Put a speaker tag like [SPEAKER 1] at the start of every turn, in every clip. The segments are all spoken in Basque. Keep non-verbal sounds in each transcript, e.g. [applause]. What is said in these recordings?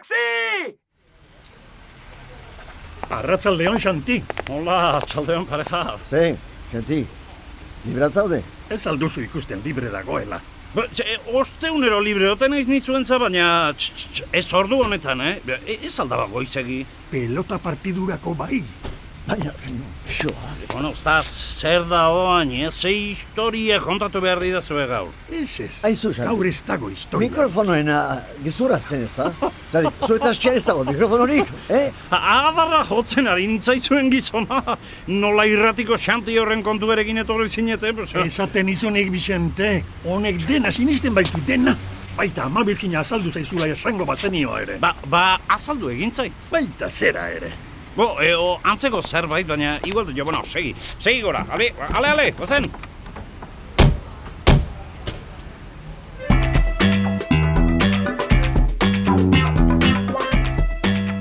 [SPEAKER 1] taxi!
[SPEAKER 2] Arratzaldeon Xanti. Hola, arratzaldeon pareja.
[SPEAKER 3] Ze, Xanti, librat zaude?
[SPEAKER 2] Ez alduzu ikusten libre dagoela. Ba, txe, osteunero libre oten naiz nizuen za, baina tx, tx, tx, ez ordu honetan, eh? Ba, e- Ez aldaba goizegi.
[SPEAKER 4] Pelota partidurako bai.
[SPEAKER 3] Baina, xoa.
[SPEAKER 2] Bueno, usta, zer da oain, eh? Ze historia kontatu behar didazue gaur.
[SPEAKER 4] Ez ez.
[SPEAKER 3] Aizu, Xanti.
[SPEAKER 4] Gaur ez dago historia.
[SPEAKER 3] Mikrofonoena gezurra zen ez da? Zari, zuetaz txea ez dago mikrofonorik, eh?
[SPEAKER 2] Ha- Adarra jotzen ari nintzaizuen gizona. Nola irratiko xanti horren kontuarekin etorri zinete, pues, eh?
[SPEAKER 4] Esaten izunik, Vicente, honek dena sinisten baitu dena. Baita ama birkina azaldu zaizula esango bazenioa ere.
[SPEAKER 2] Ba, ba, azaldu egin zait.
[SPEAKER 4] Baita zera ere.
[SPEAKER 2] Bo, e, o, antzeko zerbait, baina igual jo, bueno, segi, segi gora, ale, ale, ale, gozen!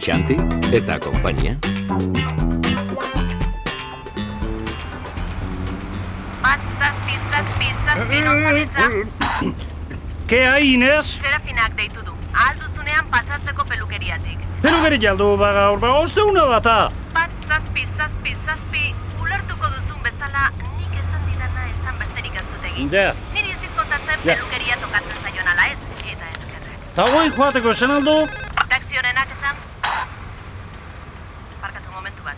[SPEAKER 5] Xanti eta konpainia.
[SPEAKER 6] Batzaz, piztaz,
[SPEAKER 2] Eh,
[SPEAKER 6] piztaz, pirotza,
[SPEAKER 2] Ke hai, Inez?
[SPEAKER 6] Serafinak deitu du. Alduzunean pasatzeko pelukeriatik.
[SPEAKER 2] Perugeri jaldu, ba, gaur, ba, osteuna da ta!
[SPEAKER 6] Batzaz, piztaz, piztaz, pi... Ulertuko duzun bezala, nik esan didana esan besterik ez dut egin.
[SPEAKER 2] Ja,
[SPEAKER 6] Niri ez dit kontatzen
[SPEAKER 2] Ja.
[SPEAKER 6] pelukeria tokatzen zaion ala ez, eta eskerrak.
[SPEAKER 2] ta goi joateko esan aldu?
[SPEAKER 6] Taxi honenak esan... Barkatu momentu bat.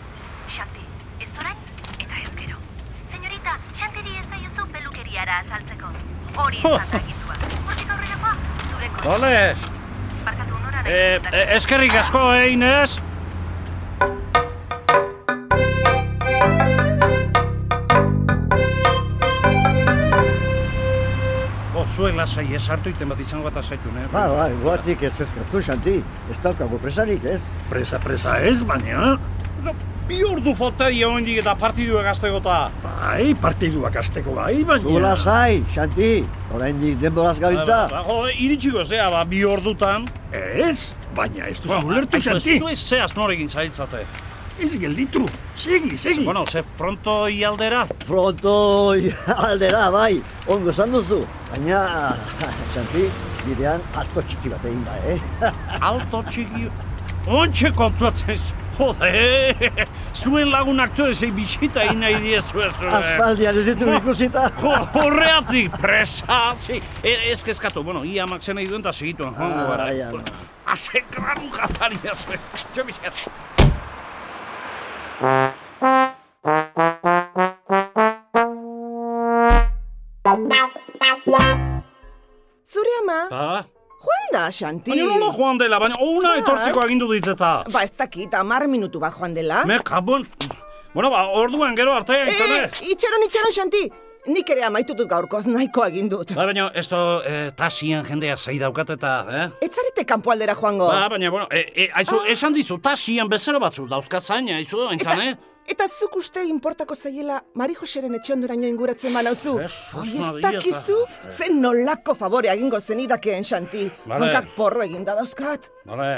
[SPEAKER 6] Xanti, ez orain eta ezkero. Señorita, Xantiri ez daiozu pelukeriara azaltzeko. Hori izan da egitua. Hortik aurrerakoa, zure kontra.
[SPEAKER 2] Bale,
[SPEAKER 6] Barkatu nora nahi
[SPEAKER 2] e,
[SPEAKER 6] duzu,
[SPEAKER 2] e, eskerrik asko, eh, Inez? Bo, zuek lasai ez hartu iten bat izango bat azaitun, eh?
[SPEAKER 3] Ba, ba, guatik ez ezkatu, Xanti, ez daukago presarik, ez?
[SPEAKER 4] Presa, presa ez, baina...
[SPEAKER 2] Zo, Bi ordu falta dia oendik eta partidua gaztegota.
[SPEAKER 4] Bai, partiduak azteko bai, baina...
[SPEAKER 3] Zu lasai, Xanti, oraindik denboraz gabiltza.
[SPEAKER 2] Ba, jo, iritsiko ez dea, ba, bi ordutan.
[SPEAKER 4] Ez, baina ez duzu ulertu,
[SPEAKER 2] aizu,
[SPEAKER 4] Xanti.
[SPEAKER 2] Zu ez zehaz norekin zailtzate.
[SPEAKER 4] Ez gelditru. Segi, segi.
[SPEAKER 2] Bueno, ze fronto ialdera.
[SPEAKER 3] bai. Fronto [laughs] aldera, bai, ongo esan duzu. Baina, [laughs] Xanti, bidean alto txiki bat egin da, eh?
[SPEAKER 2] Alto txiki... Ontxe kontuatzen zu. Jode, zuen lagun aktore zei bisita egin nahi diezu ez. eh.
[SPEAKER 3] Aspaldian ez [laughs] ditu ikusita.
[SPEAKER 2] Jo, horreatik presa, zi. E, ez kezkatu, bueno, ia makzen nahi duen eta segituen. jongo
[SPEAKER 7] Ah,
[SPEAKER 2] gara.
[SPEAKER 3] Ai, ama.
[SPEAKER 2] Haze granu jataria zuen. Jo, bizkat.
[SPEAKER 7] Zure ama,
[SPEAKER 2] Ba,
[SPEAKER 7] joan da, Xanti.
[SPEAKER 2] baina nola joan dela, baina una
[SPEAKER 7] Bai.
[SPEAKER 2] etortzeko agindu dit eta.
[SPEAKER 7] Ba, ez dakit, amar minutu bat joan dela.
[SPEAKER 2] Me kabon... Bueno, ba, orduan gero arte izan
[SPEAKER 7] Eh, itxaron, itxaron, Xanti. Nik ere amaitutut gaurkoz nahiko egin dut.
[SPEAKER 2] Ba, baina, ez da, eh, tasien jendea zei daukat eta, eh?
[SPEAKER 7] Ez zarete kanpoaldera joango.
[SPEAKER 2] Ba, baina, bueno, e, e, aizu, esan dizu, tasien bezero batzu dauzka zaina, aizu,
[SPEAKER 7] eta,
[SPEAKER 2] aintzan, eh?
[SPEAKER 7] eta zuk uste inportako zaiela Mari Joseren etxonduraino inguratzen manauzu.
[SPEAKER 2] Jesus
[SPEAKER 7] Hori ez
[SPEAKER 2] Maria,
[SPEAKER 7] dakizu,
[SPEAKER 2] eta-
[SPEAKER 7] zen nolako favore egingo zenidakeen, Xanti.
[SPEAKER 2] Vale.
[SPEAKER 7] Hankak porro eginda dauzkat.
[SPEAKER 2] Bale.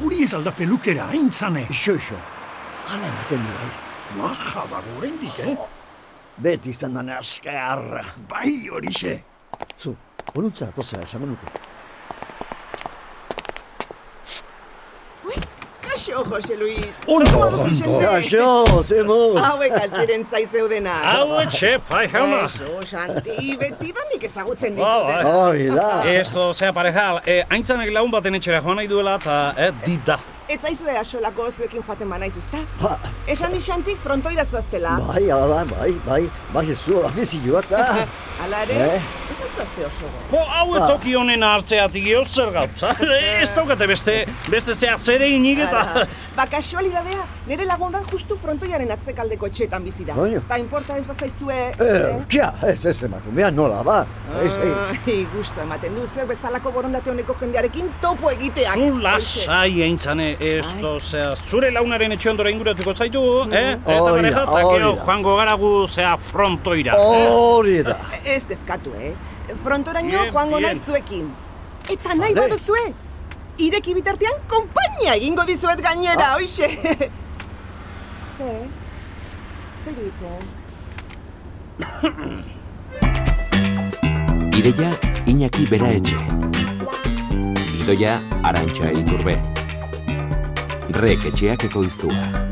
[SPEAKER 4] Uri ez alda pelukera, aintzane.
[SPEAKER 3] Ixo, ixo, ala ematen du, bai.
[SPEAKER 4] Maja dago oraindik, eh?
[SPEAKER 3] Beti izan da naskearra.
[SPEAKER 4] Bai, horixe.
[SPEAKER 3] Zu, honuntza atozera esango nuke.
[SPEAKER 7] Ui, kaixo, Jose Luis.
[SPEAKER 4] Ondo,
[SPEAKER 7] Zer modu,
[SPEAKER 4] ondo.
[SPEAKER 7] Vicente?
[SPEAKER 3] Kaixo, zemoz!
[SPEAKER 7] Hauek altziren zaizeudena.
[SPEAKER 2] Hau etxe, pai jauna.
[SPEAKER 7] Eso, Xanti, betidanik ezagutzen
[SPEAKER 2] Ba,
[SPEAKER 7] ditut.
[SPEAKER 2] ba,
[SPEAKER 7] eta-
[SPEAKER 3] Hori da!
[SPEAKER 2] [laughs] Esto, zea pareja, eh, aintzanek laun baten etxera joan nahi duela eta, eh, dida.
[SPEAKER 7] Ez zaizue asolako zuekin joaten banaiz, ezta?
[SPEAKER 3] Ba,
[SPEAKER 7] Esan di Xantik frontoira zoaztela.
[SPEAKER 3] bai, ala, bai, bai, bai, zu, afizio bat da.
[SPEAKER 7] [laughs] Hala ere,
[SPEAKER 3] Eh?
[SPEAKER 7] ez altzoazte oso. go.
[SPEAKER 2] Bo, hau etoki honen hartzeatik jo zer gauza. Eh, Ez daukate beste, beste zea zere inik
[SPEAKER 7] Hala.
[SPEAKER 2] eta...
[SPEAKER 7] Ba, kasualidadea, nire lagun bat justu frontoiaren atzekaldeko etxeetan bizi da.
[SPEAKER 3] Baina.
[SPEAKER 7] Ta inporta ez bazaizue...
[SPEAKER 3] Eh, kia, ez ez emakumea nola, ba. Ez, ez.
[SPEAKER 7] Ai, gusto ematen du, zuek bezalako borondate honeko jendearekin topo egiteak.
[SPEAKER 2] [laughs] Zu
[SPEAKER 7] Hoxe.
[SPEAKER 2] lasai aintzane, esto, zea, zure launaren etxe ondora inguratuko zaitu, eh? Ez da
[SPEAKER 3] Hori
[SPEAKER 2] pareja,
[SPEAKER 3] da,
[SPEAKER 2] eta
[SPEAKER 3] hori
[SPEAKER 2] gero
[SPEAKER 3] da.
[SPEAKER 2] joango gara gu, zea, frontoira.
[SPEAKER 3] Oh,
[SPEAKER 2] eh?
[SPEAKER 3] Hori da.
[SPEAKER 7] Ez gezkatu, eh? Frontoraino
[SPEAKER 2] Bien,
[SPEAKER 7] joango
[SPEAKER 2] bien.
[SPEAKER 7] naiz zuekin. Eta nahi
[SPEAKER 3] Vale.
[SPEAKER 7] baduzue, ireki bitartean
[SPEAKER 2] Ah.
[SPEAKER 7] [laughs] konpainia egingo dizuet gainera, hoixe. Ze, Zer iruditzen?
[SPEAKER 5] Ireia Iñaki Beraetxe. Idoia Arantxa Iturbe. Rek etxeak ekoiztua.